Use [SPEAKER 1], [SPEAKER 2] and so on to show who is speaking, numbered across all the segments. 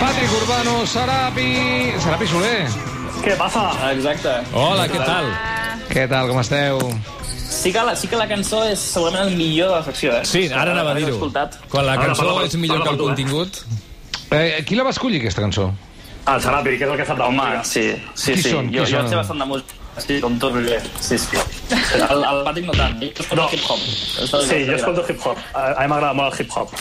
[SPEAKER 1] Patrick Urbano, Serapi... Serapi Soler.
[SPEAKER 2] Què passa?
[SPEAKER 3] Ah, Exacte.
[SPEAKER 4] Hola, què tal?
[SPEAKER 1] Què tal, com esteu?
[SPEAKER 3] Sí que, la, sí que la cançó és segurament el millor de la secció, eh?
[SPEAKER 4] Sí, ara anava a
[SPEAKER 3] L'he
[SPEAKER 4] dir-ho.
[SPEAKER 3] escoltat.
[SPEAKER 4] Quan la
[SPEAKER 2] Ara,
[SPEAKER 4] cançó
[SPEAKER 2] parla,
[SPEAKER 4] és millor que
[SPEAKER 2] parla
[SPEAKER 4] el
[SPEAKER 2] tu, eh?
[SPEAKER 4] contingut...
[SPEAKER 1] Eh, qui la va escollir, aquesta cançó?
[SPEAKER 2] El Sarapi, Ah, que és el que sap de
[SPEAKER 3] Home,
[SPEAKER 2] música.
[SPEAKER 3] sí, sí,
[SPEAKER 1] Qui
[SPEAKER 3] sí.
[SPEAKER 1] són?
[SPEAKER 3] Jo,
[SPEAKER 1] Qui
[SPEAKER 3] jo
[SPEAKER 1] són?
[SPEAKER 3] en sé bastant de música. Sí, com tot bé. Sí, sí. El, el Patrick no tant. Jo escolto
[SPEAKER 2] No.
[SPEAKER 3] hip-hop.
[SPEAKER 2] Sí, jo escolto hip-hop. A a mi m'agrada molt el hip-hop.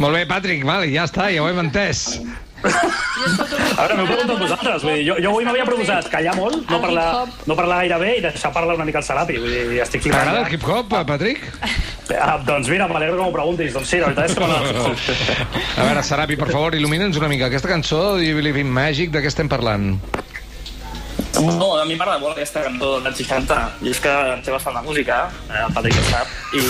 [SPEAKER 1] Molt bé, Patrick, vale, ja està, ja ho hem entès.
[SPEAKER 2] A veure, m'ho pregunto a vosaltres. Vull dir, jo, jo avui m'havia proposat callar molt, no
[SPEAKER 5] El
[SPEAKER 2] parlar,
[SPEAKER 5] hip-hop.
[SPEAKER 2] no parlar gaire bé i deixar parlar una mica el Sarapi. Vull dir, estic flipant.
[SPEAKER 1] T'agrada
[SPEAKER 2] ja.
[SPEAKER 1] el hip-hop, eh, Patrick?
[SPEAKER 2] Ah, doncs mira, m'alegro que m'ho preguntis. Doncs sí, la veritat és que m'agrada el hip-hop.
[SPEAKER 1] A veure, Serapi, per favor, il·lumina'ns una mica. Aquesta cançó, You Believe in Magic, de què estem parlant?
[SPEAKER 3] No, a mi m'agrada molt aquesta cançó dels 60. I és que en sé bastant de música, eh,
[SPEAKER 2] Ah,
[SPEAKER 3] el Patrick ho sap. I...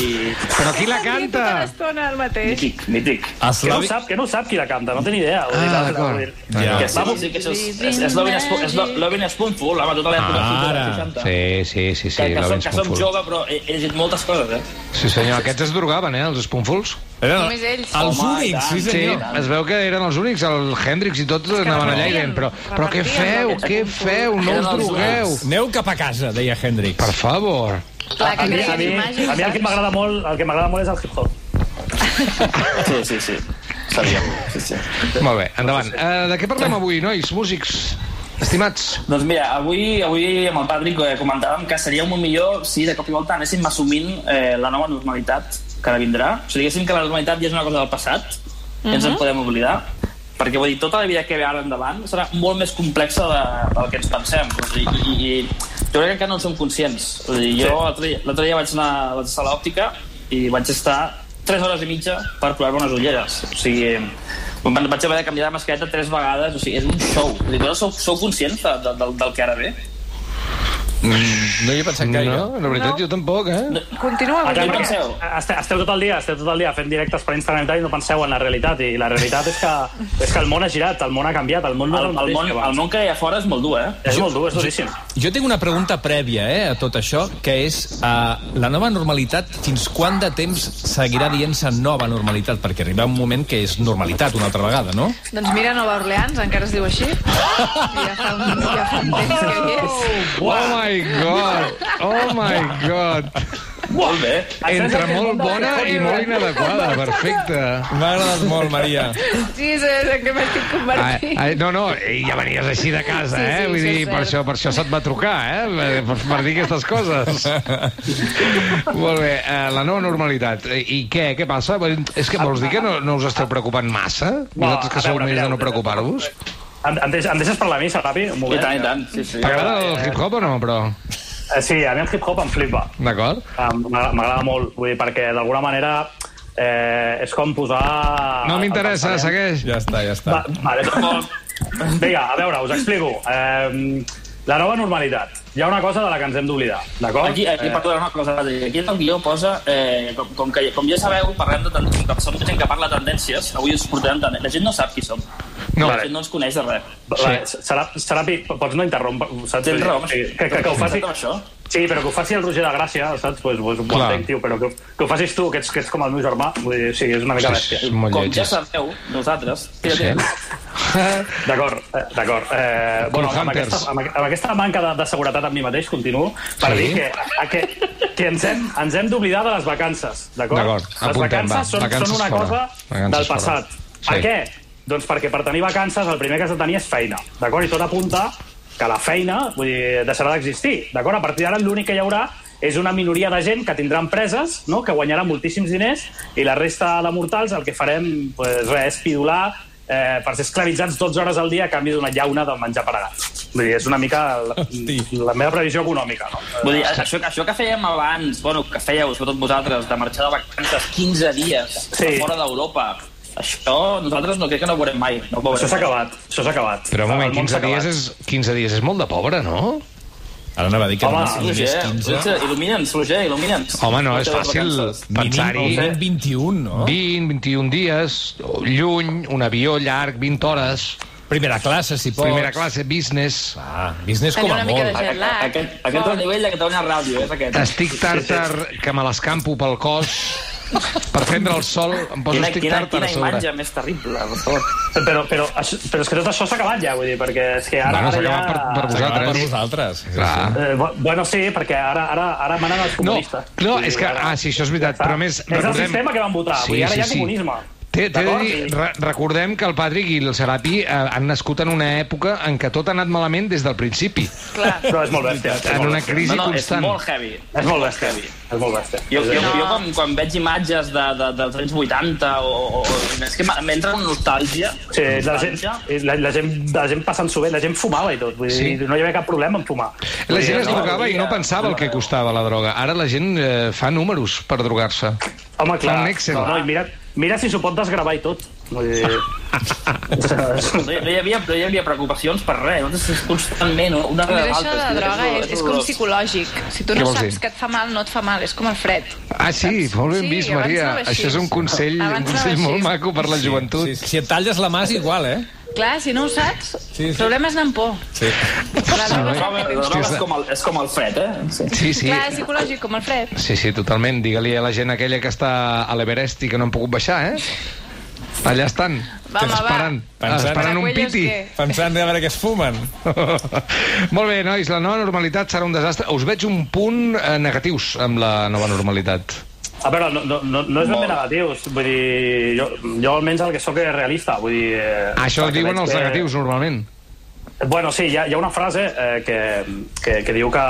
[SPEAKER 1] Però qui la canta?
[SPEAKER 5] Tota l'estona el mateix.
[SPEAKER 3] Mític, mític.
[SPEAKER 2] Que no,
[SPEAKER 4] Eslavi...
[SPEAKER 2] sap, que no sap qui la canta, no té ni idea. Vull dir,
[SPEAKER 1] Ah,
[SPEAKER 2] la- la-
[SPEAKER 1] d'acord.
[SPEAKER 2] vull dir-
[SPEAKER 4] Ja. Eh,
[SPEAKER 3] Que sí,
[SPEAKER 2] Vamos.
[SPEAKER 3] sí, que això és, és, és Lovin' Spo- és Lo- Lovin' Spoonful, home, tota l'època
[SPEAKER 4] Ara.
[SPEAKER 3] ah, dels 60.
[SPEAKER 1] Sí, sí, sí,
[SPEAKER 3] que,
[SPEAKER 1] sí,
[SPEAKER 3] que,
[SPEAKER 1] la
[SPEAKER 3] som,
[SPEAKER 1] Vince
[SPEAKER 3] que som
[SPEAKER 1] Spoonful.
[SPEAKER 3] jove, però he, he llegit moltes coses, eh?
[SPEAKER 1] Sí, senyor, aquests es drogaven, eh, els esponfuls.
[SPEAKER 4] Eren
[SPEAKER 5] Només ells.
[SPEAKER 4] Els
[SPEAKER 3] Home, i
[SPEAKER 4] únics,
[SPEAKER 3] tant.
[SPEAKER 4] sí
[SPEAKER 1] Sí,
[SPEAKER 4] senyor.
[SPEAKER 1] es veu que eren els únics, el Hendrix i tots anaven allà i deien, però, però què feu, què feu, no us drogueu.
[SPEAKER 4] Aneu cap a casa, deia Hendrix.
[SPEAKER 1] Per favor.
[SPEAKER 5] Clar,
[SPEAKER 2] A mi, a
[SPEAKER 5] que
[SPEAKER 2] mi,
[SPEAKER 5] creies
[SPEAKER 2] a mi el que
[SPEAKER 5] imàgics.
[SPEAKER 2] m'agrada molt, el que m'agrada molt és el hip-hop.
[SPEAKER 3] Sí, sí, sí. Sabíem. Sí, sí.
[SPEAKER 1] Molt bé, endavant. Eh, de què parlem avui, nois, músics, estimats?
[SPEAKER 3] Doncs mira, avui, avui amb el Patrick eh, comentàvem que seria molt millor si de cop i volta anéssim assumint eh, la nova normalitat que ara vindrà. O sigui, diguéssim que la normalitat ja és una cosa del passat, mm ens en podem oblidar, perquè vull dir, tota la vida que ve ara endavant serà molt més complexa de, del que ens pensem. O sigui, i, i, jo crec que encara no en som conscients. O sigui, jo l'altre dia- l'altre dia vaig anar vaig estar a l'òptica i vaig estar 3 hores i mitja per provar unes ulleres. O sigui, em van- vaig haver de canviar de mascareta tres vegades, o sigui, és un show. Vull dir, vosaltres sou, sou conscients de, de, del, del que ara ve?
[SPEAKER 4] No hi he pensat gaire.
[SPEAKER 1] No, la veritat, jo tampoc, eh?
[SPEAKER 5] Continua,
[SPEAKER 3] Ara,
[SPEAKER 5] continua.
[SPEAKER 3] no penseu.
[SPEAKER 2] Esteu, esteu tot el dia, esteu tot el dia fent directes per Instagram i tal, i no penseu en la realitat. I la realitat és que, és que el món ha girat, el món ha canviat, el món no
[SPEAKER 3] El,
[SPEAKER 2] és el, mateix
[SPEAKER 3] el, món,
[SPEAKER 2] que
[SPEAKER 3] el
[SPEAKER 2] abans.
[SPEAKER 3] món que hi ha fora és molt dur, eh?
[SPEAKER 2] És molt dur, és duríssim.
[SPEAKER 4] Jo tinc una pregunta prèvia eh, a tot això, que és uh, la nova normalitat, fins quant de temps seguirà dient-se nova normalitat? Perquè arriba un moment que és normalitat una altra vegada, no?
[SPEAKER 5] Doncs mira Nova Orleans, encara es diu així. I ja fa un, ja fa un temps que hi és.
[SPEAKER 1] Oh my god, oh my god.
[SPEAKER 3] Molt bé.
[SPEAKER 1] Entre molt bona i molt inadequada, perfecte.
[SPEAKER 4] M'ha agradat molt, Maria.
[SPEAKER 5] Jesus, en què m'estic
[SPEAKER 1] Ai,
[SPEAKER 5] convertint?
[SPEAKER 1] ai, Ah, no, no, eh, ja venies així de casa,
[SPEAKER 5] Sí, sí,
[SPEAKER 1] eh? Vull
[SPEAKER 5] això
[SPEAKER 1] dir,
[SPEAKER 5] és
[SPEAKER 1] per
[SPEAKER 5] cert.
[SPEAKER 1] això, per això se't va trucar, eh? Per, per dir aquestes coses. Molt bé, eh, la nova normalitat. Eh, I què, què passa? Vull dir, És que vols dir que no, no us esteu preocupant massa? Vosaltres que
[SPEAKER 2] a
[SPEAKER 1] sou
[SPEAKER 2] veure,
[SPEAKER 1] més de
[SPEAKER 2] mireu,
[SPEAKER 1] no preocupar-vos?
[SPEAKER 2] Em, em, deix, em deixes parlar a mi, Sarapi? Un
[SPEAKER 3] I
[SPEAKER 2] moment.
[SPEAKER 3] tant, i tant. Sí, sí.
[SPEAKER 1] T'agrada el hip-hop o no, però?
[SPEAKER 2] Eh, Sí, a mi el hip-hop em flipa.
[SPEAKER 1] D'acord?
[SPEAKER 2] Em- m'agra- M'agrada molt, vull dir, perquè d'alguna manera eh, és com posar...
[SPEAKER 1] No m'interessa,
[SPEAKER 2] Ah, el pensament-
[SPEAKER 1] segueix.
[SPEAKER 4] Ja està, ja està.
[SPEAKER 2] Va, vale, doncs, vinga, a veure, us explico. Eh, la nova normalitat. Hi ha una cosa de la que ens hem d'oblidar, d'acord?
[SPEAKER 3] Aquí, aquí
[SPEAKER 2] Eh,
[SPEAKER 3] perdona una cosa, Adri. aquí el guió posa, eh, com, com, que, com ja sabeu, parlem de tendències, com que som gent que parla de tendències, avui us portarem tendències. La gent no sap qui som.
[SPEAKER 1] No.
[SPEAKER 3] La gent no ens coneix de res.
[SPEAKER 2] vale, serà, serà, pi- pots no interrompre, saps? Eh,
[SPEAKER 3] Tens raó.
[SPEAKER 2] Que, que, que, que ho faci...
[SPEAKER 3] Exacte, amb Això.
[SPEAKER 2] Sí, però que ho faci el Roger de Gràcia, saps? Pues, pues, ho
[SPEAKER 1] Clar.
[SPEAKER 2] entenc, tio, però que, que ho facis tu, que ets, que ets com el meu germà, vull dir, sí, és una mica
[SPEAKER 1] És,
[SPEAKER 2] bèstia.
[SPEAKER 1] és molt
[SPEAKER 3] Com ja
[SPEAKER 1] lleig.
[SPEAKER 3] sabeu, nosaltres... Tira,
[SPEAKER 1] Sí.
[SPEAKER 3] tira.
[SPEAKER 2] D'acord, eh, d'acord. Eh, bueno, amb,
[SPEAKER 1] Hunters.
[SPEAKER 2] aquesta, amb, aqu- amb aquesta manca de, de seguretat amb mi mateix continuo per
[SPEAKER 1] Sí.
[SPEAKER 2] sí. dir que, a, que, que ens hem, ens hem d'oblidar de les vacances, d'acord?
[SPEAKER 1] D'acord,
[SPEAKER 2] Les
[SPEAKER 1] apuntem,
[SPEAKER 2] vacances
[SPEAKER 1] va,
[SPEAKER 2] són,
[SPEAKER 1] vacances
[SPEAKER 2] són una
[SPEAKER 1] fora.
[SPEAKER 2] cosa
[SPEAKER 1] Vacances
[SPEAKER 2] del
[SPEAKER 1] fora.
[SPEAKER 2] passat.
[SPEAKER 1] Sí.
[SPEAKER 2] Per què? Doncs perquè per tenir vacances el primer que has de tenir és feina, d'acord? I tot apunta que la feina vull dir, deixarà d'existir, d'acord? A partir d'ara l'únic que hi haurà és una minoria de gent que tindrà empreses, no? que guanyarà moltíssims diners, i la resta de mortals el que farem pues, res, és pidolar eh, per ser esclavitzats 12 hores al dia a canvi d'una llauna de menjar per a gats. Vull dir, és una mica la, la meva previsió econòmica. No?
[SPEAKER 3] Vull dir, això, això que fèiem abans, bueno, que fèieu, sobretot vosaltres, de marxar de vacances 15 dies
[SPEAKER 2] Sí.
[SPEAKER 3] sí. fora d'Europa, això nosaltres no crec que no ho veurem mai. No ho
[SPEAKER 2] Això
[SPEAKER 3] veurem.
[SPEAKER 2] s'ha acabat, això s'ha acabat.
[SPEAKER 1] Però un moment,
[SPEAKER 2] El món s'ha
[SPEAKER 1] 15 dies,
[SPEAKER 2] acabat.
[SPEAKER 1] és, 15 dies és molt de pobre, no?
[SPEAKER 4] Ara anava a dir que
[SPEAKER 2] Home,
[SPEAKER 4] eren
[SPEAKER 3] Roger,
[SPEAKER 4] només
[SPEAKER 3] Roger, il·lumina'ns, Roger, il·lumina'ns.
[SPEAKER 1] Home, no,
[SPEAKER 3] Les
[SPEAKER 1] és
[SPEAKER 3] teves
[SPEAKER 1] fàcil
[SPEAKER 3] vacances.
[SPEAKER 1] pensar-hi.
[SPEAKER 4] Mínim 21, no?
[SPEAKER 1] 20, 21 dies, lluny, un avió llarg, 20 hores,
[SPEAKER 4] Primera classe, si pots.
[SPEAKER 1] primera classe, business...
[SPEAKER 4] Ah, business
[SPEAKER 5] Tenir
[SPEAKER 4] com a
[SPEAKER 5] una mica de
[SPEAKER 4] molt.
[SPEAKER 5] jet
[SPEAKER 3] Aquest,
[SPEAKER 5] lag.
[SPEAKER 3] eh, aquest, aquest és el nivell de Catalunya Ràdio, és aquest.
[SPEAKER 1] Estic tàrtar que me l'escampo pel cos. Per prendre el sol em poso
[SPEAKER 3] Quina,
[SPEAKER 1] estic
[SPEAKER 3] quina,
[SPEAKER 1] tard
[SPEAKER 3] quina
[SPEAKER 1] a sobre.
[SPEAKER 3] imatge més terrible, per favor.
[SPEAKER 2] Però, però, això, però és que tot això s'ha acabat ja, vull dir, perquè és que ara...
[SPEAKER 1] Bueno, s'ha
[SPEAKER 2] ara ja...
[SPEAKER 1] acabat per, per vosaltres.
[SPEAKER 4] Per vosaltres.
[SPEAKER 1] Clar.
[SPEAKER 2] Eh, bo- bueno, sí, perquè ara, ara, ara manen els
[SPEAKER 1] No,
[SPEAKER 2] comunistes.
[SPEAKER 1] no,
[SPEAKER 2] Vull dir,
[SPEAKER 1] és que...
[SPEAKER 2] ara-
[SPEAKER 1] Ah, sí, això és veritat, però a més...
[SPEAKER 2] És el sistema que van votar, vull dir, ara hi ha comunisme.
[SPEAKER 1] Té, té de
[SPEAKER 2] D'acord?
[SPEAKER 1] dir, re, recordem que el Patrick i el Serapi eh, han nascut en una època en què tot ha anat malament des del principi,
[SPEAKER 5] Clar.
[SPEAKER 2] Però és molt bèstia. és
[SPEAKER 1] en
[SPEAKER 2] molt
[SPEAKER 1] una
[SPEAKER 2] bèstia.
[SPEAKER 1] crisi
[SPEAKER 3] no, no,
[SPEAKER 1] constant.
[SPEAKER 3] és molt heavy.
[SPEAKER 2] És molt bèstia, és molt bèstia.
[SPEAKER 3] Jo, jo,
[SPEAKER 2] És-
[SPEAKER 3] jo quan, quan veig imatges de, de, dels anys 80 o, o, o és que m'entra una nostàlgia.
[SPEAKER 2] Sí, la gent,
[SPEAKER 3] nostàlgia.
[SPEAKER 2] la, la gent, la gent passant-s'ho bé, la gent fumava i tot. Vull dir,
[SPEAKER 1] Sí.
[SPEAKER 2] no hi havia cap problema en fumar.
[SPEAKER 1] La
[SPEAKER 2] Vull dir,
[SPEAKER 1] gent es
[SPEAKER 2] no,
[SPEAKER 1] drogava i
[SPEAKER 2] vull
[SPEAKER 1] no
[SPEAKER 2] dir,
[SPEAKER 1] pensava el que costava la droga. Ara la gent eh, fa números per drogar-se.
[SPEAKER 2] Home, clar,
[SPEAKER 1] Fan Excel.
[SPEAKER 2] no, no, i mira, mira si s'ho pot desgravar i tot. Vull dir...
[SPEAKER 3] No, hi- no, hi havia, no hi havia preocupacions per res. Nosaltres és constantment una
[SPEAKER 5] Però
[SPEAKER 3] de
[SPEAKER 5] això de la droga és, és com psicològic. Si tu
[SPEAKER 1] Què
[SPEAKER 5] no
[SPEAKER 1] vols
[SPEAKER 5] saps
[SPEAKER 1] dir?
[SPEAKER 5] que et fa mal, no et fa mal. És com el fred.
[SPEAKER 1] Ah, sí, molt ben
[SPEAKER 5] Sí,
[SPEAKER 1] vist,
[SPEAKER 5] abans
[SPEAKER 1] Maria.
[SPEAKER 5] anava així.
[SPEAKER 1] Això és un consell, un
[SPEAKER 5] Abans
[SPEAKER 1] consell
[SPEAKER 5] anava
[SPEAKER 1] molt
[SPEAKER 5] així.
[SPEAKER 1] maco per la joventut.
[SPEAKER 4] Sí, si et talles la mà és igual, eh?
[SPEAKER 5] Clar, si no ho saps,
[SPEAKER 4] Sí, sí.
[SPEAKER 5] el problema és anar amb por.
[SPEAKER 4] Sí.
[SPEAKER 5] La droga
[SPEAKER 3] La
[SPEAKER 5] és
[SPEAKER 3] droga, la droga és, com el, és com el fred, eh? Sí.
[SPEAKER 1] Sí, sí.
[SPEAKER 5] Clar, és psicològic, com el fred.
[SPEAKER 1] Sí, sí, totalment. Digue-li a la gent aquella que està a l'Everest i que no han pogut baixar, eh? Allà estan,
[SPEAKER 5] Va, home, va.
[SPEAKER 1] esperant,
[SPEAKER 4] Pensant-
[SPEAKER 1] esperant un
[SPEAKER 5] Paracuellos,
[SPEAKER 1] piti.
[SPEAKER 5] què?
[SPEAKER 4] Pensant a veure què es fumen.
[SPEAKER 1] Molt bé, nois, la nova normalitat serà un desastre. Us veig un punt eh, negatius amb la nova normalitat.
[SPEAKER 2] A veure, no, no, no, no és ben bé
[SPEAKER 3] Molt.
[SPEAKER 2] negatius. Vull dir, jo, jo almenys el que sóc és realista. Vull dir, eh,
[SPEAKER 1] Això
[SPEAKER 2] perquè
[SPEAKER 1] diuen
[SPEAKER 2] veig
[SPEAKER 1] els
[SPEAKER 2] que-
[SPEAKER 1] negatius, normalment.
[SPEAKER 2] Bueno, sí, hi ha, hi ha una frase eh, que, que, que diu que...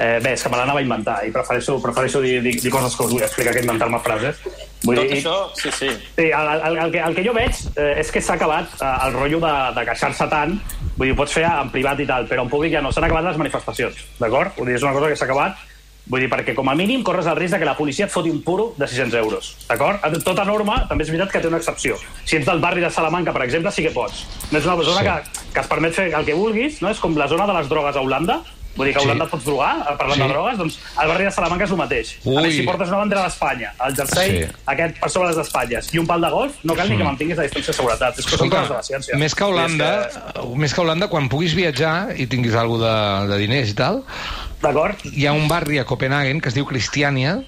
[SPEAKER 2] Eh, bé, és que me l'anava a inventar i prefereixo, prefereixo dir, dir, dir coses que us vull explicar que inventar-me frases. Vull
[SPEAKER 3] Tot
[SPEAKER 2] dir,
[SPEAKER 3] això, sí, sí.
[SPEAKER 2] Sí, el, el, el, que, el que jo veig eh, és que s'ha acabat eh, el rotllo de, de queixar-se tant, vull dir, ho pots fer en privat i tal, però en públic ja no, s'han acabat les manifestacions, d'acord? Vull dir, és una cosa que s'ha acabat, vull dir, perquè com a mínim corres el risc de que la policia et foti un puro de 600 euros, d'acord? Tota norma també és veritat que té una excepció. Si ets del barri de Salamanca, per exemple, sí que pots. No és una zona
[SPEAKER 1] Sí.
[SPEAKER 2] sí. que, que es permet fer el que vulguis, no? És com la zona de les drogues a Holanda, Vull dir que a
[SPEAKER 1] Sí.
[SPEAKER 2] Holanda et pots drogar eh, parlant
[SPEAKER 1] Sí.
[SPEAKER 2] de drogues, doncs al barri de Salamanca és el mateix. A
[SPEAKER 1] Ui.
[SPEAKER 2] més, si portes una bandera d'Espanya, al jersei,
[SPEAKER 1] Sí. Mm.
[SPEAKER 2] sí aquest per sobre les espatlles i un pal de golf, no cal ni que mantinguis la distància de seguretat. És que són coses de la ciència.
[SPEAKER 1] més que a Holanda,
[SPEAKER 2] És
[SPEAKER 1] més que a Holanda, quan puguis viatjar i tinguis alguna de, de diners i tal,
[SPEAKER 2] que- D'acord?
[SPEAKER 1] hi ha un barri a Copenhagen que es diu Cristiania.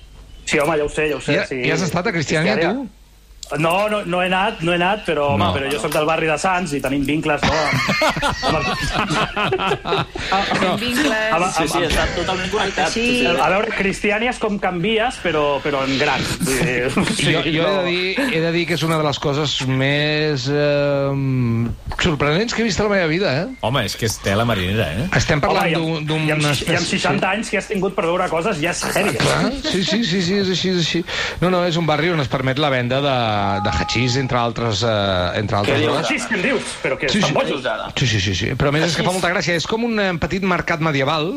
[SPEAKER 2] Sí, home, ja ho sé, ja ho sé.
[SPEAKER 1] Ja,
[SPEAKER 2] sí.
[SPEAKER 1] ja has estat a Cristiania, tu?
[SPEAKER 2] No, no, no he anat, no he anat, però, home,
[SPEAKER 1] No.
[SPEAKER 2] però jo sóc del barri de Sants i tenim vincles, no? Amb, amb,
[SPEAKER 5] No. Vincles...
[SPEAKER 2] amb, amb,
[SPEAKER 3] Sí, sí,
[SPEAKER 2] amb,
[SPEAKER 3] està totalment connectat.
[SPEAKER 5] Sí.
[SPEAKER 3] Sí, sí.
[SPEAKER 2] a veure, Cristiania és com canvies, però, però en gran. Vull dir,
[SPEAKER 1] Sí, jo, jo he, de dir, he de dir que és una de les coses més eh, sorprenents que he vist a la meva vida, eh?
[SPEAKER 4] Home, és que és tela marinera, eh?
[SPEAKER 1] Estem
[SPEAKER 2] Home,
[SPEAKER 1] parlant
[SPEAKER 2] i
[SPEAKER 1] d'un...
[SPEAKER 2] amb,
[SPEAKER 1] d'un-
[SPEAKER 2] i amb, i amb
[SPEAKER 1] espècie- Ah,
[SPEAKER 2] 60 anys que has tingut per veure coses ja és heavy.
[SPEAKER 1] Clar, sí, sí, sí, sí, és així, és així. No, no, és un barri on es permet la venda de, de hachís, entre altres... Eh, entre altres
[SPEAKER 3] dius?
[SPEAKER 1] drogues.
[SPEAKER 2] Sí, és que em dius, però que
[SPEAKER 1] Sí,
[SPEAKER 2] estan
[SPEAKER 1] sí.
[SPEAKER 2] bojos.
[SPEAKER 3] Bojos, ara.
[SPEAKER 1] Sí, sí, sí, sí. Però a més és que fa molta gràcia. És com un eh, petit mercat medieval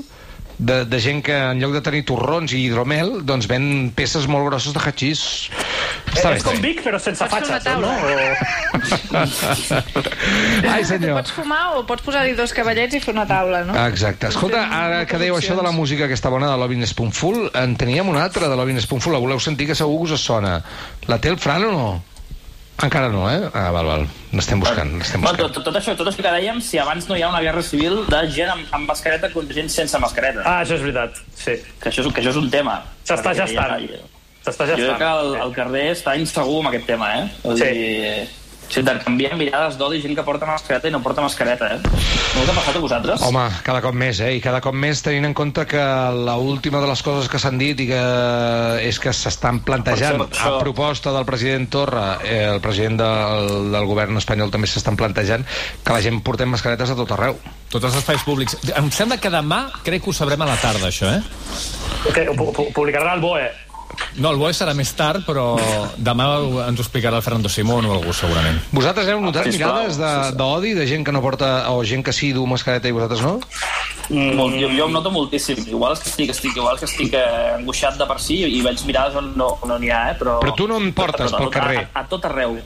[SPEAKER 1] de, de gent que en lloc de tenir torrons i hidromel, doncs ven peces molt grosses de hachís. Està bé.
[SPEAKER 2] Eh, és com Vic, però sense
[SPEAKER 5] Pots fer una
[SPEAKER 2] fatxes, no? O...
[SPEAKER 1] Ai,
[SPEAKER 5] Tu
[SPEAKER 1] senyor.
[SPEAKER 5] eh, pots fumar o pots posar-hi dos cavallets i fer una taula, no?
[SPEAKER 1] Exacte. Escolta,
[SPEAKER 5] Fem
[SPEAKER 1] ara que dèieu això de la
[SPEAKER 5] produccions.
[SPEAKER 1] música aquesta bona de l'Ovin Spoonful, en teníem una altra de l'Ovin Spoonful, la voleu sentir que segur que us sona. La té el Fran o no? Encara no, eh? Ah, val, val. L'estem buscant, l'estem
[SPEAKER 3] Bueno,
[SPEAKER 1] buscant.
[SPEAKER 3] tot, tot, això, tot això que dèiem, si abans no hi ha una guerra civil de gent amb, amb mascareta contra gent sense mascareta.
[SPEAKER 2] Ah, això és veritat, sí.
[SPEAKER 3] Que, això, és- que això és un tema.
[SPEAKER 2] S'està
[SPEAKER 3] Perquè hi ha-
[SPEAKER 2] gestant. S'està
[SPEAKER 3] Jo crec que
[SPEAKER 2] gestant.
[SPEAKER 3] el, el carrer està insegur amb aquest tema, eh? O
[SPEAKER 2] Sí.
[SPEAKER 3] sigui, sí. intercanvien mirades d'odi gent que porta mascareta i no porta mascareta, eh? No us ha passat a vosaltres?
[SPEAKER 1] Home, cada cop més, eh? I cada cop més tenint en compte que la última de les coses que s'han dit i que és que s'estan plantejant
[SPEAKER 3] Per això, per això.
[SPEAKER 1] a proposta del president Torra, eh, el president del, del govern espanyol també s'estan plantejant que la gent portem mascaretes a tot arreu.
[SPEAKER 4] Tots els espais públics. Em sembla que demà crec que ho sabrem a la tarda, això, eh?
[SPEAKER 2] Que ho pu- pu- publicarà el BOE.
[SPEAKER 4] No, el BOE serà més tard, però demà ho- ens ho explicarà el Fernando Simón o algú, segurament.
[SPEAKER 1] Vosaltres heu notat
[SPEAKER 3] Sisplau,
[SPEAKER 1] mirades de- d'odi de, gent que no porta o gent que sí du mascareta i vosaltres no? Mm.
[SPEAKER 3] Molt, jo, jo em noto moltíssim. Igual és que estic, estic, igual que estic eh, angoixat de per si i veig mirades on no on no n'hi ha, eh? Però,
[SPEAKER 1] Però tu no en portes
[SPEAKER 3] Però-
[SPEAKER 1] pel
[SPEAKER 3] però
[SPEAKER 1] carrer.
[SPEAKER 3] A, a tot arreu.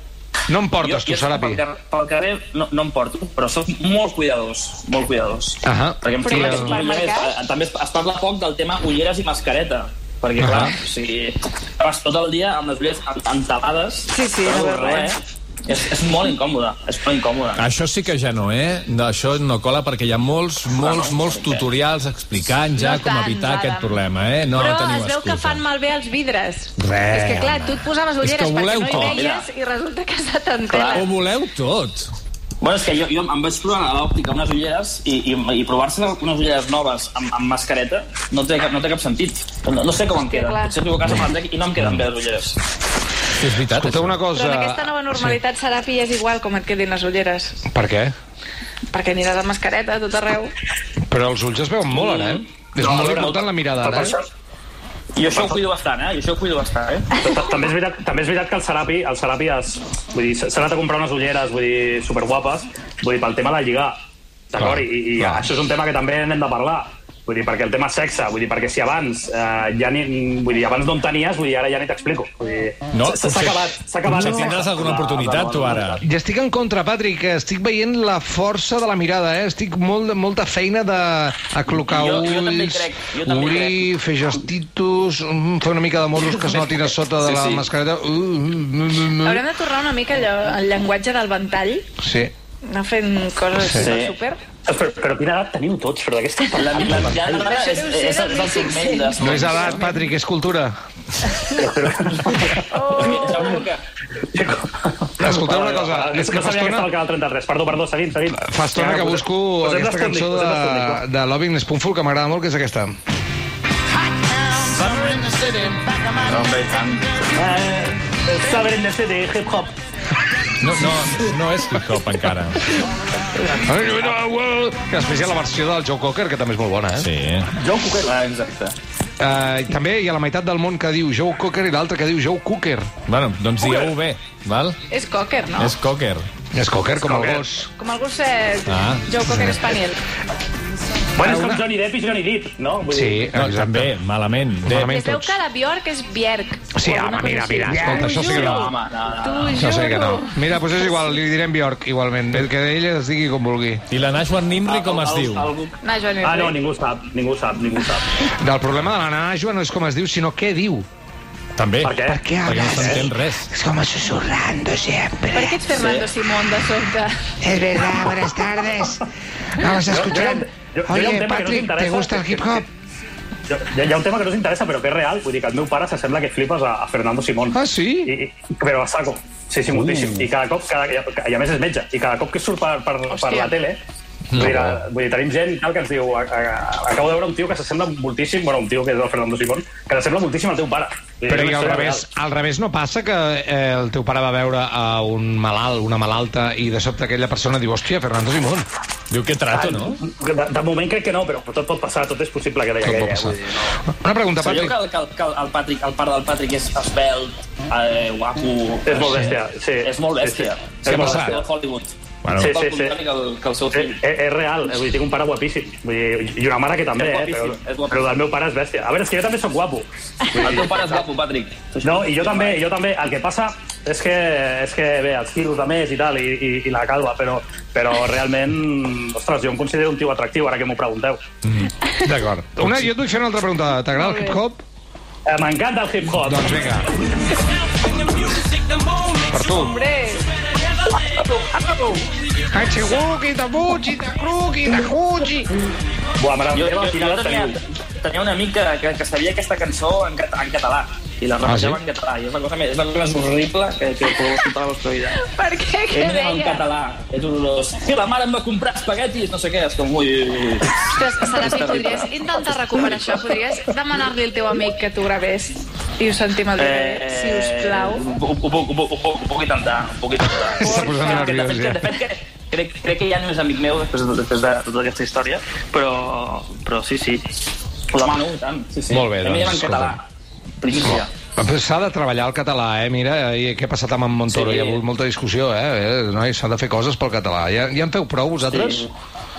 [SPEAKER 1] No em portes,
[SPEAKER 3] jo,
[SPEAKER 1] tu,
[SPEAKER 3] jo pel,
[SPEAKER 1] Serapi.
[SPEAKER 3] carrer, pel carrer no, no em porto, però sóc molt cuidadós, molt cuidadós.
[SPEAKER 1] Ahà.
[SPEAKER 3] Perquè em
[SPEAKER 5] Però
[SPEAKER 3] sembla
[SPEAKER 5] i
[SPEAKER 3] que
[SPEAKER 5] al
[SPEAKER 3] és una
[SPEAKER 5] supermercat?
[SPEAKER 3] llei- eh, també es, es parla poc del tema ulleres i mascareta. Perquè, clar,
[SPEAKER 1] Ahà.
[SPEAKER 3] o sigui, vas tot el dia amb les ulleres en- entapades.
[SPEAKER 5] Sí, sí,
[SPEAKER 3] no
[SPEAKER 5] la
[SPEAKER 3] veus
[SPEAKER 5] vergonya.
[SPEAKER 3] res, eh, És, és molt incòmode, és molt
[SPEAKER 1] Ah,
[SPEAKER 3] incòmode.
[SPEAKER 4] Això sí que ja no, eh? No, això no cola perquè hi ha molts, molts, molts tutorials explicant ja
[SPEAKER 5] No
[SPEAKER 4] com
[SPEAKER 5] tants,
[SPEAKER 4] evitar
[SPEAKER 5] ara.
[SPEAKER 4] aquest problema, eh? No,
[SPEAKER 5] Però
[SPEAKER 4] no teniu
[SPEAKER 5] es veu que
[SPEAKER 4] excusa. Eh,
[SPEAKER 5] fan malbé els vidres.
[SPEAKER 1] Re,
[SPEAKER 5] és que, clar, tu et posaves
[SPEAKER 4] que
[SPEAKER 5] ulleres
[SPEAKER 4] ho
[SPEAKER 5] perquè
[SPEAKER 4] voleu
[SPEAKER 5] no
[SPEAKER 4] tot.
[SPEAKER 5] hi veies i resulta que està tan
[SPEAKER 3] Clar.
[SPEAKER 5] tela.
[SPEAKER 4] Ho voleu tot.
[SPEAKER 3] Bueno, és que jo, jo em vaig provar a l'òptica unes ulleres i, i, i provar-se unes ulleres noves amb, amb mascareta no té cap, no té cap sentit. No, no sé com em queden.
[SPEAKER 5] clar.
[SPEAKER 3] Potser tu a casa me'n trec i no em queden bé les ulleres.
[SPEAKER 4] Sí, és veritat.
[SPEAKER 1] Escolteu
[SPEAKER 4] això.
[SPEAKER 1] una cosa...
[SPEAKER 5] Però en aquesta nova normalitat serà pilles igual com et quedin les ulleres,
[SPEAKER 1] Sí. Per què?
[SPEAKER 5] perquè aniràs amb mascareta a tot arreu.
[SPEAKER 1] Però els ulls es veuen molt, ara, eh? És
[SPEAKER 3] No, a
[SPEAKER 1] molt
[SPEAKER 3] veure,
[SPEAKER 1] important la mirada, eh?
[SPEAKER 2] Però
[SPEAKER 1] ara.
[SPEAKER 2] per això,
[SPEAKER 3] I això ho cuido bastant, eh? I això ho cuido bastant, eh?
[SPEAKER 2] Ta- també és, veritat, també és veritat que el Serapi, el Serapi es, vull dir, s'ha anat a comprar unes ulleres vull dir, superguapes vull dir, pel tema de lligar. D'acord?
[SPEAKER 1] Clar,
[SPEAKER 2] I, i
[SPEAKER 1] clar.
[SPEAKER 2] això és un tema que també n'hem de parlar. Vull dir, perquè el tema sexe, vull dir, perquè si abans eh, ja ni, vull dir, abans no en tenies, vull dir, ara ja ni t'explico. Vull dir,
[SPEAKER 4] No,
[SPEAKER 2] s'ha- s'ha
[SPEAKER 4] potser-
[SPEAKER 2] acabat, s'ha acabat.
[SPEAKER 4] Potser
[SPEAKER 2] el sexe.
[SPEAKER 4] tindràs alguna oportunitat, tu, ara.
[SPEAKER 1] I estic en contra, Patrick, que estic veient la força de la mirada, eh? Estic molt, molta feina de aclocar
[SPEAKER 3] Jo-
[SPEAKER 1] ulls,
[SPEAKER 3] jo també hi crec, jo també hi
[SPEAKER 1] obrir, fer gestitos, mm, fer una mica de morros que es notin a sota de
[SPEAKER 3] Sí,
[SPEAKER 1] la
[SPEAKER 3] sí.
[SPEAKER 1] mascareta. Uh, mm, mm, mm,
[SPEAKER 5] Haurem de tornar una mica allò, al llenguatge del ventall,
[SPEAKER 1] mm. Sí.
[SPEAKER 5] anar fent coses
[SPEAKER 1] Sí.
[SPEAKER 5] sí. super.
[SPEAKER 2] Però, però quina edat teniu tots? Però d'aquesta
[SPEAKER 3] La, la, la, la, la
[SPEAKER 5] Això
[SPEAKER 3] és,
[SPEAKER 5] deu
[SPEAKER 3] és,
[SPEAKER 5] ser
[SPEAKER 3] és,
[SPEAKER 5] del
[SPEAKER 3] el segment de...
[SPEAKER 1] No és edat, Patrick, és cultura.
[SPEAKER 3] Oh.
[SPEAKER 1] Escolteu una cosa,
[SPEAKER 2] No
[SPEAKER 1] és que fa
[SPEAKER 2] sabia
[SPEAKER 1] estona...
[SPEAKER 2] que estava al canal 33. Perdó, perdó, seguim, seguim.
[SPEAKER 1] Fa estona que busco
[SPEAKER 2] Us hem
[SPEAKER 1] aquesta
[SPEAKER 2] d'escondir,
[SPEAKER 1] cançó
[SPEAKER 2] us hem d'escondir,
[SPEAKER 1] de,
[SPEAKER 2] clar.
[SPEAKER 1] de Loving Spoonful que m'agrada molt, que és aquesta.
[SPEAKER 2] Eh, Saber en este de hip hop.
[SPEAKER 4] No, no, no és hip-hop, encara.
[SPEAKER 1] Que després hi ha la versió del Joe Cocker, que també és molt bona, eh?
[SPEAKER 4] Sí.
[SPEAKER 3] John Cooker. Ah, exacte.
[SPEAKER 1] Uh, també hi ha la meitat del món que diu Joe Cocker i l'altra que diu Joe Cooker.
[SPEAKER 4] Bueno, doncs digueu bé, val?
[SPEAKER 5] És cocker, no?
[SPEAKER 4] És cocker.
[SPEAKER 1] És Cocker, com el gos.
[SPEAKER 5] Com el gosset,
[SPEAKER 4] Ah.
[SPEAKER 5] ah. Joe Cocker Spaniel.
[SPEAKER 2] Bueno, és com Johnny Depp i Johnny Depp, no? Vull dir,
[SPEAKER 1] Sí,
[SPEAKER 4] No,
[SPEAKER 1] exacte.
[SPEAKER 4] també, malament. De...
[SPEAKER 5] Que
[SPEAKER 1] Malament
[SPEAKER 5] es veu
[SPEAKER 1] tots.
[SPEAKER 5] que la Bjork és Bjerg.
[SPEAKER 1] Sí,
[SPEAKER 5] o alguna
[SPEAKER 1] home, mira,
[SPEAKER 5] cosa
[SPEAKER 1] mira,
[SPEAKER 5] així.
[SPEAKER 1] escolta, això sí que no.
[SPEAKER 5] T'ho
[SPEAKER 3] Home, no, no.
[SPEAKER 5] juro.
[SPEAKER 1] Això sí que no. Mira, doncs és igual, li direm Bjork, igualment. El que ella es digui com vulgui.
[SPEAKER 4] I la Nashwan Nimri com es
[SPEAKER 3] Al-
[SPEAKER 4] diu?
[SPEAKER 3] algú-
[SPEAKER 5] No, Joan
[SPEAKER 2] Ah, no, ningú sap, ningú sap, ningú sap.
[SPEAKER 1] El problema de la Najwa no és com es diu, sinó què diu.
[SPEAKER 4] També.
[SPEAKER 2] Per què?
[SPEAKER 1] Per què
[SPEAKER 4] Perquè no
[SPEAKER 1] hablas?
[SPEAKER 4] s'entén res.
[SPEAKER 1] Es como susurrando siempre.
[SPEAKER 5] Per què ets Fernando Simón de sobte?
[SPEAKER 1] Es verdad, buenas tardes. Vamos a escuchar.
[SPEAKER 2] yo- yo era un
[SPEAKER 1] Oye,
[SPEAKER 2] tema que no te
[SPEAKER 1] Patrick, ¿te
[SPEAKER 2] interesa,
[SPEAKER 1] gusta el
[SPEAKER 2] que-
[SPEAKER 1] hip hop?
[SPEAKER 2] Jo, hi ha- hi ha un tema que no us interessa, però que és real. Vull dir que el meu pare s'assembla que flipes a, a Fernando Simón.
[SPEAKER 1] Ah, sí?
[SPEAKER 2] I, i, però a saco. Sí, sí, moltíssim. I cada cop, cada, i a més és metge, i cada cop que surt per, per, per
[SPEAKER 5] Hòstia.
[SPEAKER 2] la tele,
[SPEAKER 1] Mm.
[SPEAKER 2] Vull dir, que- vull dir, tenim gent tal, que ens diu a, a, acabo de veure un tio que s'assembla moltíssim bueno, un tio que és el Fernando Simón que s'assembla moltíssim al teu pare Vull dir,
[SPEAKER 1] Però
[SPEAKER 2] és
[SPEAKER 1] i
[SPEAKER 2] una
[SPEAKER 1] al
[SPEAKER 2] història
[SPEAKER 1] revés, al revés no passa que eh, el teu pare va veure a un malalt, una malalta, i de sobte aquella persona diu, hòstia, Fernando Simón.
[SPEAKER 4] Diu que trato, no?
[SPEAKER 2] real. de, de, moment crec que no, però tot pot passar tot és possible que deia
[SPEAKER 1] Tot pot
[SPEAKER 2] aquella
[SPEAKER 1] passar.
[SPEAKER 2] vull dir, no.
[SPEAKER 1] Una pregunta,
[SPEAKER 3] Sabeu
[SPEAKER 1] Patrick.
[SPEAKER 3] que, el- que, el- que el, el, Patrick, el pare del Patrick és esbelt, eh, guapo...
[SPEAKER 2] És molt bèstia, sí.
[SPEAKER 3] És molt bèstia.
[SPEAKER 2] Sí, sí.
[SPEAKER 3] És
[SPEAKER 2] Què
[SPEAKER 3] molt
[SPEAKER 2] passa?
[SPEAKER 3] bèstia de Hollywood.
[SPEAKER 4] Bueno.
[SPEAKER 3] sí,
[SPEAKER 2] Sí,
[SPEAKER 3] sí,
[SPEAKER 2] sí,
[SPEAKER 3] sí. Que el, que el seu
[SPEAKER 2] És,
[SPEAKER 3] fill.
[SPEAKER 2] és, és real, eh? vull dir, tinc un pare guapíssim. Vull dir, I una mare que també,
[SPEAKER 3] És
[SPEAKER 2] eh?
[SPEAKER 3] guapíssim,
[SPEAKER 2] Però,
[SPEAKER 3] és guapíssim.
[SPEAKER 2] però el meu pare és bèstia. A veure, és que jo també sóc guapo.
[SPEAKER 3] El teu pare és guapo, Patrick.
[SPEAKER 2] No, i jo també, jo també. El que passa és que, és que bé, els quilos de més i tal, i, i, i la calva, però, però realment, ostres, jo em considero un tio atractiu, ara que m'ho pregunteu.
[SPEAKER 1] D'acord.
[SPEAKER 4] Doncs
[SPEAKER 1] Una, jo et vull fer una altra pregunta. T'agrada el hip-hop?
[SPEAKER 2] Eh, M'encanta el hip-hop.
[SPEAKER 1] Doncs vinga. Per tu.
[SPEAKER 5] Hombre,
[SPEAKER 1] Hachihuki, tabuchi, takruki, takuchi.
[SPEAKER 2] Buah, mare
[SPEAKER 3] Jo, jo,
[SPEAKER 2] meva, quina
[SPEAKER 3] jo
[SPEAKER 2] edat
[SPEAKER 3] tenia,
[SPEAKER 2] teniu.
[SPEAKER 3] tenia un amic que, que, que sabia aquesta cançó en, cat, en català i la repetava
[SPEAKER 1] Ah, sí?
[SPEAKER 3] en català. I és la cosa més, és la cosa més horrible que, que podeu escoltar a la vostra vida.
[SPEAKER 5] per què?
[SPEAKER 3] Ell
[SPEAKER 5] Què
[SPEAKER 3] en
[SPEAKER 5] deia?
[SPEAKER 3] català, és horrorós. Que la mare em va comprar espaguetis, no sé què, és com... Ui, ui, ui.
[SPEAKER 5] Ostres, Serapi, podries intentar recuperar això? Podries demanar-li al teu amic que t'ho gravés i ho sentim al dia,
[SPEAKER 3] Eh,
[SPEAKER 5] si us plau?
[SPEAKER 3] Ho, ho, ho, ho, ho, ho puc intentar, ho puc intentar.
[SPEAKER 1] S'està posant
[SPEAKER 3] Que, de
[SPEAKER 1] nerviós,
[SPEAKER 3] fet, que,
[SPEAKER 1] ja.
[SPEAKER 3] de fet, que, crec, crec que ja no és amic meu després de, després de tota aquesta història, però, però sí, sí. Ho demano, i tant. Sí, sí.
[SPEAKER 1] Molt bé,
[SPEAKER 3] També hi ha
[SPEAKER 1] doncs, Oh,
[SPEAKER 3] en català. Primícia.
[SPEAKER 1] Però S'ha de treballar el català, eh? Mira, i què ha passat amb en Montoro?
[SPEAKER 3] Sí.
[SPEAKER 1] Hi ha hagut molta discussió, eh? eh? Nois, s'ha de fer coses pel català. Ja, ja en feu prou, vosaltres?
[SPEAKER 3] Sí.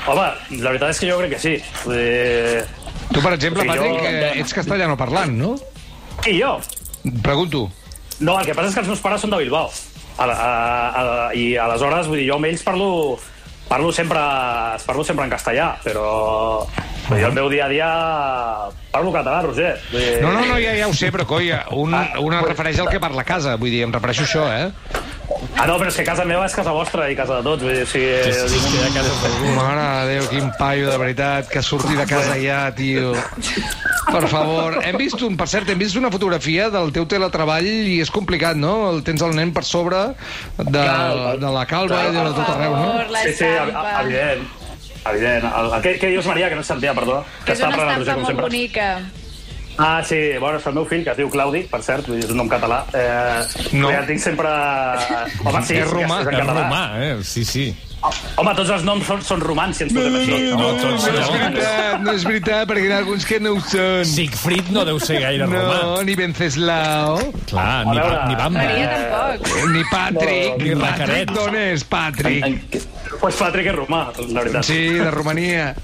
[SPEAKER 2] Home, la veritat és que jo crec que sí. Eh, Vull dir...
[SPEAKER 1] Tu, per exemple,
[SPEAKER 2] Sí, jo-
[SPEAKER 1] Patrick, eh, ets castellano parlant, no?
[SPEAKER 2] I jo?
[SPEAKER 1] Pregunto.
[SPEAKER 2] No, el que passa és que els meus pares són de Bilbao. A, la- a, a, I aleshores, vull dir, jo amb ells parlo, parlo, sempre, parlo sempre en castellà, però vull dir, el meu dia a dia parlo català, Roger. Vull dir,
[SPEAKER 1] No, no,
[SPEAKER 2] Ah,
[SPEAKER 1] no, ja, ja ho sé, però coi, un, un es refereix al que parla a casa. Vull dir, em refereixo a això, eh?
[SPEAKER 2] Ah, no, però és que casa meva és casa vostra i casa de tots. Vull dir, si... Sí, sí, sí, sí, casa
[SPEAKER 1] Mare de Déu, quin paio, de veritat, que surti de casa ja, tio. Per favor, hem vist, un, per cert, hem vist una fotografia del teu teletreball i és complicat, no? El tens el nen per sobre de, de la calva i de
[SPEAKER 5] Per
[SPEAKER 1] tot arreu, no?
[SPEAKER 5] favor, la
[SPEAKER 2] Sí, sí,
[SPEAKER 5] estampa.
[SPEAKER 2] a- evident. Evident. El, el, què, què dius, Maria, que no et sentia, perdó?
[SPEAKER 5] Que és
[SPEAKER 2] estava
[SPEAKER 5] una
[SPEAKER 2] parlant el
[SPEAKER 5] estampa
[SPEAKER 2] Roger, com
[SPEAKER 5] molt
[SPEAKER 2] sempre.
[SPEAKER 5] bonica.
[SPEAKER 2] Ah, sí, bueno, és el meu fill, que es diu Claudi, per cert, vull dir, és un nom català. Eh,
[SPEAKER 1] No.
[SPEAKER 2] no. Ja el tinc sempre... eh, Home, sí,
[SPEAKER 1] És romà,
[SPEAKER 2] en
[SPEAKER 4] És
[SPEAKER 2] català. Oh,
[SPEAKER 4] romà, eh? Sí, sí.
[SPEAKER 2] Home, tots els noms són, són romans, si ens fotem així.
[SPEAKER 4] No, tots
[SPEAKER 1] No és
[SPEAKER 4] no.
[SPEAKER 1] veritat, no és veritat, perquè hi ha alguns que no ho són.
[SPEAKER 4] Siegfried no deu ser gaire
[SPEAKER 1] No,
[SPEAKER 4] romà.
[SPEAKER 1] ni Venceslao,
[SPEAKER 4] Clar, ni,
[SPEAKER 2] A veure,
[SPEAKER 4] Ba- ni Bamba.
[SPEAKER 5] Maria tampoc.
[SPEAKER 1] ni Patrick,
[SPEAKER 4] Ni
[SPEAKER 1] Patrick
[SPEAKER 4] Racaret.
[SPEAKER 1] d'on és, Patrick?
[SPEAKER 3] En, que-
[SPEAKER 2] Pues Patrick és romà, la veritat. Eh,
[SPEAKER 1] Sí, de Romania.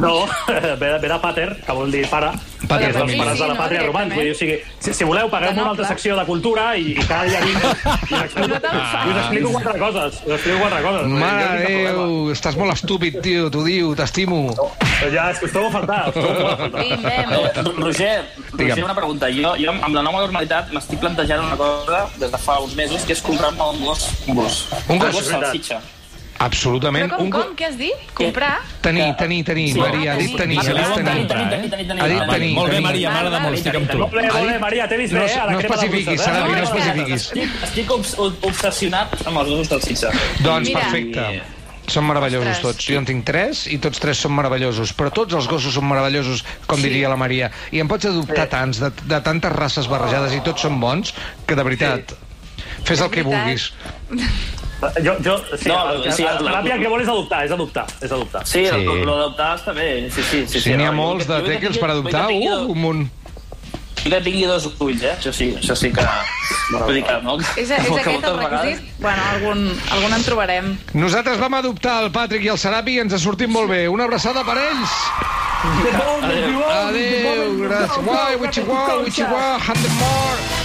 [SPEAKER 2] No, ve de, ve de pater, que vol dir pare.
[SPEAKER 1] Pater,
[SPEAKER 2] Pater, dels
[SPEAKER 1] sí,
[SPEAKER 2] pares
[SPEAKER 5] sí,
[SPEAKER 2] de la
[SPEAKER 5] no,
[SPEAKER 2] pàtria romans. Vull dir, o sigui, si, si voleu, pagueu
[SPEAKER 5] De
[SPEAKER 2] una altra
[SPEAKER 5] noble.
[SPEAKER 2] secció de cultura i, i cada dia vinc i us
[SPEAKER 5] No
[SPEAKER 2] explico,
[SPEAKER 5] te'n
[SPEAKER 2] i us explico quatre coses. Us explico quatre coses. Vull dir, jo
[SPEAKER 1] Mare
[SPEAKER 2] tinc
[SPEAKER 1] de
[SPEAKER 2] cap problema.
[SPEAKER 1] Déu, estàs molt estúpid, tio, t'ho diu, t'estimo.
[SPEAKER 2] Però Ja, és que us trobo a faltar. Us trobo a faltar.
[SPEAKER 5] Bim, bem.
[SPEAKER 3] Eh, Roger,
[SPEAKER 1] Digue'm.
[SPEAKER 3] Roger, una pregunta. Jo, jo amb la nova normalitat m'estic plantejant una cosa des de fa uns mesos, que és comprar-me un gos. Un gos.
[SPEAKER 1] Un gos?
[SPEAKER 3] Un gos salsitxa.
[SPEAKER 1] Absolutament.
[SPEAKER 5] Però com,
[SPEAKER 1] Un go-
[SPEAKER 5] com? Què has dit? Comprar?
[SPEAKER 1] Tenir, tenir, tenir,
[SPEAKER 3] Sí.
[SPEAKER 1] Maria, ha dit tenir,
[SPEAKER 3] Ah,
[SPEAKER 1] ha dit
[SPEAKER 3] tenir,
[SPEAKER 1] tenir.
[SPEAKER 3] tenir,
[SPEAKER 4] eh?
[SPEAKER 3] tenir, tenir, tenir.
[SPEAKER 1] Ha dit
[SPEAKER 3] Ah,
[SPEAKER 1] tenir,
[SPEAKER 4] Molt bé,
[SPEAKER 1] tenir.
[SPEAKER 4] Maria, mare de molt, estic amb tu.
[SPEAKER 2] Molt bé, molt bé, Maria, t'he vist
[SPEAKER 1] No,
[SPEAKER 2] bé,
[SPEAKER 1] es-
[SPEAKER 2] eh? a la
[SPEAKER 1] no es
[SPEAKER 2] crema de
[SPEAKER 1] pacifiquis,
[SPEAKER 2] Brussel·les.
[SPEAKER 1] Sarabi, no
[SPEAKER 2] Molt
[SPEAKER 1] es
[SPEAKER 2] bé.
[SPEAKER 1] pacifiquis.
[SPEAKER 3] Estic, estic obs obsessionat amb els gossos salsitxa.
[SPEAKER 1] Doncs
[SPEAKER 5] Mira.
[SPEAKER 1] perfecte. Són meravellosos
[SPEAKER 5] Ostres.
[SPEAKER 1] tots. Jo en tinc tres i tots tres són meravellosos. Però tots els gossos són meravellosos, com diria la Maria. I en pots adoptar tants, de, de tantes races barrejades i tots són bons, que de veritat... Fes el que
[SPEAKER 5] veritat.
[SPEAKER 1] vulguis.
[SPEAKER 2] Jo, jo, sí,
[SPEAKER 3] No,
[SPEAKER 2] el-
[SPEAKER 3] sí,
[SPEAKER 2] el-
[SPEAKER 3] el-
[SPEAKER 2] la ràpia que vol és adoptar, és adoptar, és adoptar.
[SPEAKER 3] Sí,
[SPEAKER 1] Sí.
[SPEAKER 3] sí. l'adoptar està bé. Sí, sí, sí,
[SPEAKER 1] Si n'hi ha
[SPEAKER 3] No, jo
[SPEAKER 1] molts
[SPEAKER 3] que-
[SPEAKER 1] de
[SPEAKER 3] jo que
[SPEAKER 1] tèquels
[SPEAKER 3] tingui-
[SPEAKER 1] per adoptar,
[SPEAKER 3] jo que tingui
[SPEAKER 1] uh,
[SPEAKER 3] dos-
[SPEAKER 1] un munt.
[SPEAKER 3] Jo que tingui dos ulls, eh? Això sí, això sí que... Vull dir que no.
[SPEAKER 5] És, és
[SPEAKER 3] que
[SPEAKER 5] aquest
[SPEAKER 3] moltes
[SPEAKER 5] el requisit? Bueno, algun, algun en trobarem.
[SPEAKER 1] Nosaltres vam adoptar el Patrick i el Serapi i ens ha sortit molt bé. Una abraçada per ells.
[SPEAKER 3] vegades- Adéu.
[SPEAKER 1] Adéu, gràcies. Uai, wichi, uai, wichi, uai, hundred more.